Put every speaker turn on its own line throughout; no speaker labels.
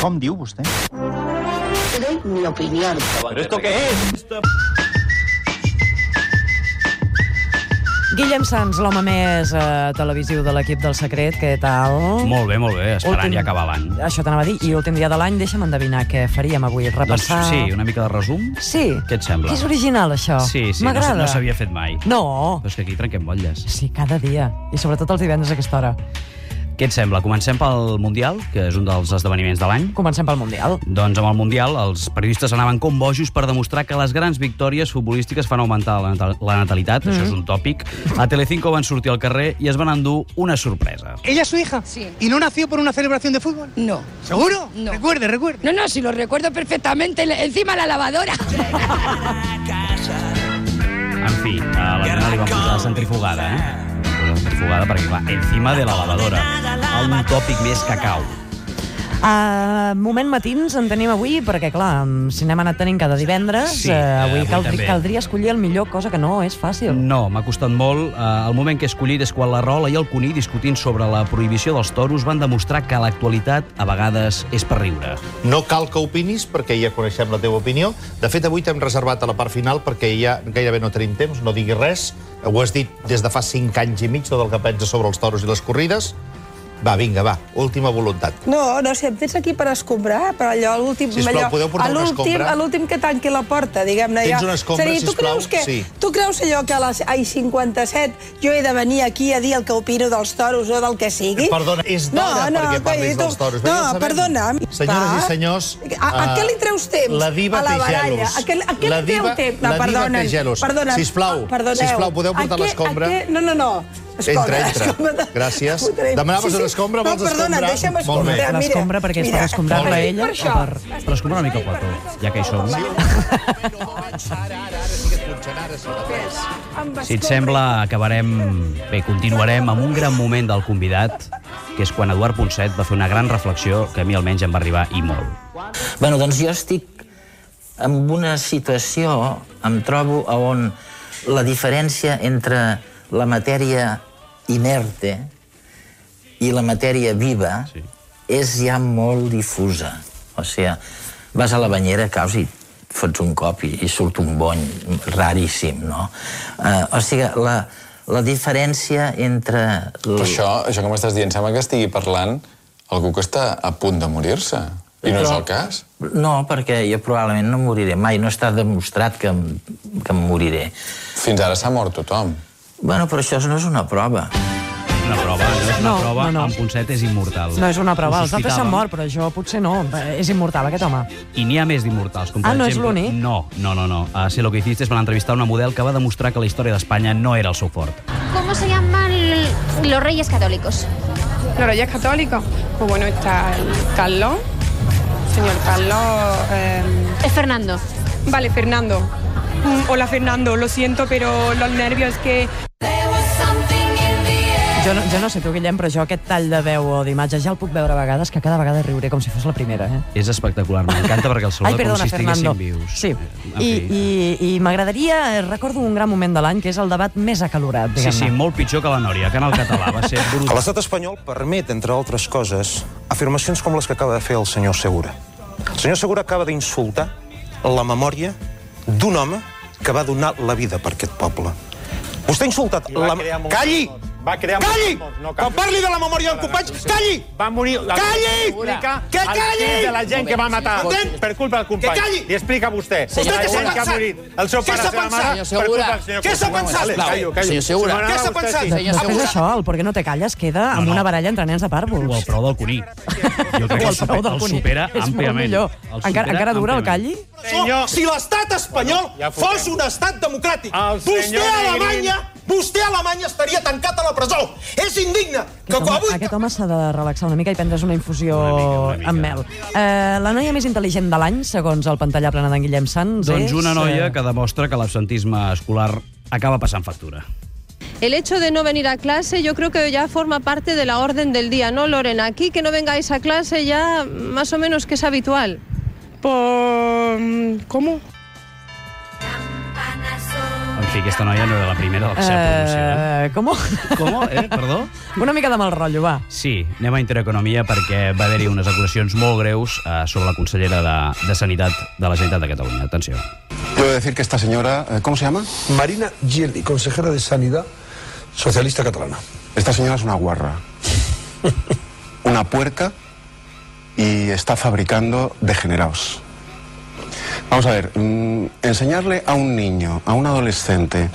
Com diu vostè?
Te doy mi opinión.
¿Pero esto qué es?
Guillem Sans, l'home més eh, televisiu de l'equip del Secret, què tal?
Molt bé, molt bé, esperant
Últim-
ja acabar l'any.
Això t'anava a dir. I últim dia de l'any, deixa'm endevinar què faríem avui.
Doncs
Repassar...
sí, una mica de resum.
Sí.
Què et sembla?
És original, això.
Sí, sí, no,
M'agrada.
no s'havia fet mai.
No.
Però és que aquí trenquem motlles.
Sí, cada dia. I sobretot els divendres a aquesta hora.
Què et sembla? Comencem pel Mundial, que és un dels esdeveniments de l'any.
Comencem pel Mundial.
Doncs amb el Mundial, els periodistes anaven com bojos per demostrar que les grans victòries futbolístiques fan augmentar la, natal la natalitat, això és un tòpic. A Telecinco van sortir al carrer i es van endur una sorpresa.
¿Ella es su hija?
Sí.
¿Y no nació por una celebración de fútbol?
No.
¿Seguro?
No.
Recuerde, recuerde.
No, no, si lo recuerdo perfectamente. Le- Encima la lavadora.
En fi, a la nena li van posar centrifugada, eh? Li van posar Centrifugada perquè, clar, encima de la lavadora. Un tòpic més cacau.
Uh, moment matins en tenim avui, perquè, clar, si n'hem anat tenint cada divendres,
Sí,
eh,
eh,
avui,
avui
caldri,
també.
caldria escollir el millor, cosa que no és fàcil.
No, m'ha costat molt. Eh, El moment que he escollit és quan la Rola i el Cuní, discutint sobre la prohibició dels toros, van demostrar que l'actualitat a vegades és per riure.
No cal que opinis, perquè ja coneixem la teva opinió. De fet, avui t'hem reservat a la part final, perquè ja gairebé no tenim temps, no diguis res. Eh, Ho has dit des de fa 5 anys i mig, tot el que penses sobre els toros i les corrides. Va, vinga, va, última voluntat.
No, no sé, em tens aquí per escombrar, però allò, a l'últim...
Sisplau,
allò,
podeu portar
a
una
l'últim-
escombra?
A l'últim que tanqui la porta, diguem-ne.
Tens
allò.
una escombra,
Seria, tu
sisplau?
creus que,
Sí.
Tu creus allò que a les ai, 57 jo he de venir aquí a dir el que opino dels toros o del que sigui?
Perdona, és d'hora perquè
coi,
parlis
tu-
dels toros.
No,
Ja sabem.
perdona.
Senyores
va.
i senyors,
A, a
eh,
què li treus temps?
la diva
a la
té
baralla.
gelos.
A què, a què
La
li treu
diva-
temps?
la diva té
perdonen,
gelos.
Perdonen.
Sisplau,
Ah, perdoneu.
sisplau, podeu portar
A què-
l'escombra?
a què- No, no, no. Escolta,
Entra, entra.
escolta.
Gràcies.
Fotrem.
Demanaves una escombra,
no,
vols
perdona,
escombrar?
deixa'm
Molt bé.
escombrar. Mira,
L'escombra perquè és per
mira,
escombrar-la
estic
ella
Per
o
això.
per-
Però escombrem una mica el plató, ja que hi som.
Amb
Si et
escombra.
sembla, acabarem... Bé, continuarem amb un gran moment del convidat, que és quan Eduard Ponset va fer una gran reflexió que a mi almenys em va arribar i molt.
Bueno, doncs jo estic en una situació, em trobo a on la diferència entre la matèria inerte i la matèria viva
Sí.
sí. és ja molt difusa. O sigui, vas a la banyera, caus i et fots un cop i, i surt un bony raríssim, no? Uh, o sigui, la, la diferència entre...
Però això, això que m'estàs dient, sembla que estigui parlant algú que està a punt de morir-se. I no és el cas.
No, perquè jo probablement no moriré mai. No està demostrat que, em- que em moriré.
Fins ara s'ha mort tothom.
Bueno, però això no és una prova.
Una prova, no és una
No,
prova,
no, no.
en Ponset és immortal.
No és una prova.
Ho
Els altres s'han
sospitàvem.
mort, però jo potser no. És immortal, aquest home.
I n'hi ha més d'immortals, com per
Ah, no és
exemple...
l'únic?
No, no, no. no. A Sé lo que hiciste es van entrevistar una model que va demostrar que la història d'Espanya no era el seu fort.
¿Cómo se llaman los reyes católicos?
¿Los reyes católicos? Pues bueno, está el Carlos. Señor Carlos. eh,
Es Fernando.
Vale, Fernando. Mm, Hola, Fernando. Lo siento, pero los nervios que
Jo no, jo no sé tu, Guillem, però jo aquest tall de veu o d'imatge ja el puc veure a vegades, que cada vegada riuré com si fos la primera, eh?
És espectacular, m'encanta perquè el saluda com si estiguessin vius.
Sí,
Eh, en
i,
fi.
i, i m'agradaria, eh, recordo un gran moment de l'any, que és el debat més acalorat,
Sí,
diguem-ne.
sí, molt pitjor que la Nòria, Canal Català, va ser
A
brutal.
l'estat espanyol permet, entre altres coses, afirmacions com les que acaba de fer el senyor Segura. El senyor Segura acaba d'insultar la memòria d'un home que va donar la vida per aquest poble. Vostè ha insultat la... Calli! Va crear Calli! No, Quan parli de la memòria del company, calli!
Va morir... La
Calli! Que
al
calli!
fill de la gent que va matar
Escoltem.
per culpa del company.
Que calli!
Li explica a vostè.
Vostè
La gent
què s'ha
que ha
pensat?
morit, El seu
Què
pare,
s'ha
la seva
pensat?
mare,
Senyor
per culpa
Segura,
del senyor
què s'ha
Cuixart.
pensat?
Vale, Callo, callo.
Senyor Segura,
Si
què s'ha
m'agrada vostè,
pensat?
sí.
No, no, és això, el Perquè no te calles queda amb
no.
una baralla entre nens
O
de
el
pàrvols.
prou del Cuní. Jo crec que el, super, el supera
És molt
àmpliament.
millor.
El supera
Encara, encara dura el
àmpliament.
calli?
Senyor-
Si l'estat espanyol
Ja fotem.
fos un estat democràtic,
El
vostè
senyor
a
Negrín.
Alemanya, vostè a Alemanya estaria tancat a la presó. És indigne que
Aquest home,
avui...
aquest home s'ha de relaxar una mica i prendre's una infusió
Una mica, una
amb
mica.
mel. Eh, la noia més intel·ligent de l'any, segons el pantallà plana d'en Guillem Sans,
Doncs
és...
una noia
eh,
que demostra que l'absentisme escolar acaba passant factura.
El hecho de no venir a clase yo creo que ya forma parte de la orden del día, ¿no, Lorena? Aquí que no vengáis a clase ya más o menos que es habitual. ¿Por cómo?
En fi, aquesta noia no era la primera de la seva promoció.
Eh, com?
Com? Eh? Perdó?
Una mica de mal rotllo, va.
Sí, anem a Intereconomia perquè va haver-hi unes acusacions molt greus eh, sobre la consellera de, de Sanitat de la Generalitat de Catalunya. Atenció.
Debo decir que esta señora, eh, ¿cómo se llama? Marina Geli, consejera de Sanidad Socialista Catalana. Esta señora es una guarra, una puerca y está fabricando degenerados. Vamos a ver, mm, enseñarle a un niño, a un adolescente,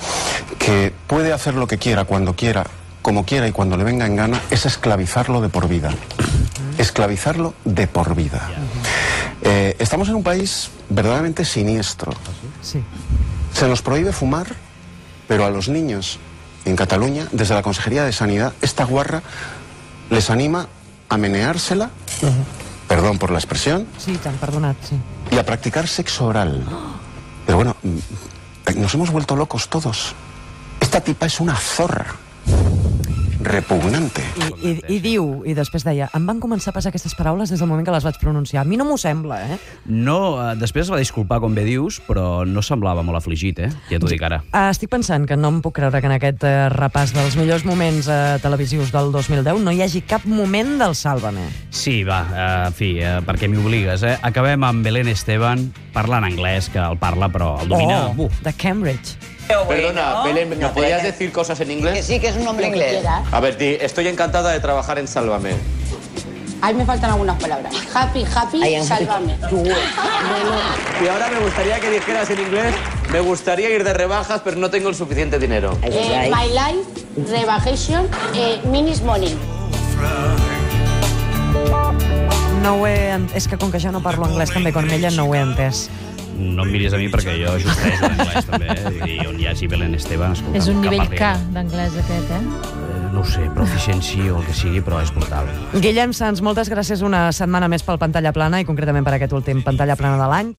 que puede hacer lo que quiera, cuando quiera, como quiera y cuando le venga en gana, es esclavizarlo de por vida. Esclavizarlo de por vida. Eh, estamos en un país verdaderamente siniestro.
Sí.
Se nos prohíbe fumar, pero a los niños en Cataluña, desde la Consejería de Sanidad, esta guarra les anima a meneársela, perdón por la expresión,
Sí, t'han perdonat, sí.
y a practicar sexo oral. Pero bueno, mm, nos hemos vuelto locos todos. Esta tipa es una zorra. Repugnante.
I, i, I diu, i després deia, em van començar a passar aquestes paraules des del moment que les vaig pronunciar. A mi no m'ho sembla, eh?
No, eh, després es va disculpar, com bé dius, però no semblava molt afligit, eh? Ja t'ho dic ara.
Uh, estic pensant que no em puc creure que en aquest uh, repàs dels millors moments uh, televisius del 2010 no hi hagi cap moment del Sálvame.
Sí, va, eh, en fi, eh, perquè m'hi obligues, eh? Acabem amb Belén Esteban, parlant anglès, que el parla, però el domina... Uh.
Oh, de Cambridge.
Perdona, Belén, ¿me podías decir cosas en inglés? Que sí, que es un
hombre Lo que inglés. quieras.
A ver, di, estoy encantada de trabajar en Sálvame.
Ahí me faltan algunas palabras. Happy, happy,
I am happy.
sálvame.
Y ahora me gustaría que dijeras en inglés, me gustaría ir de rebajas, pero no tengo el suficiente dinero.
Eh, my life, rebajation, eh, minis money.
No ho he... ent- És que com que jo no parlo anglès també com ella, no ho he entès.
No em miris a mi perquè jo justeix l'anglès, també, eh? i on hi hagi Belén Esteban... Escolta,
És un
que
nivell
parli-
K d'anglès aquest, eh?
Eh, No ho sé, proficiència o el que sigui, però és brutal.
Guillem Sans, moltes gràcies una setmana més pel Pantalla Plana i concretament per aquest últim Pantalla Plana de l'any.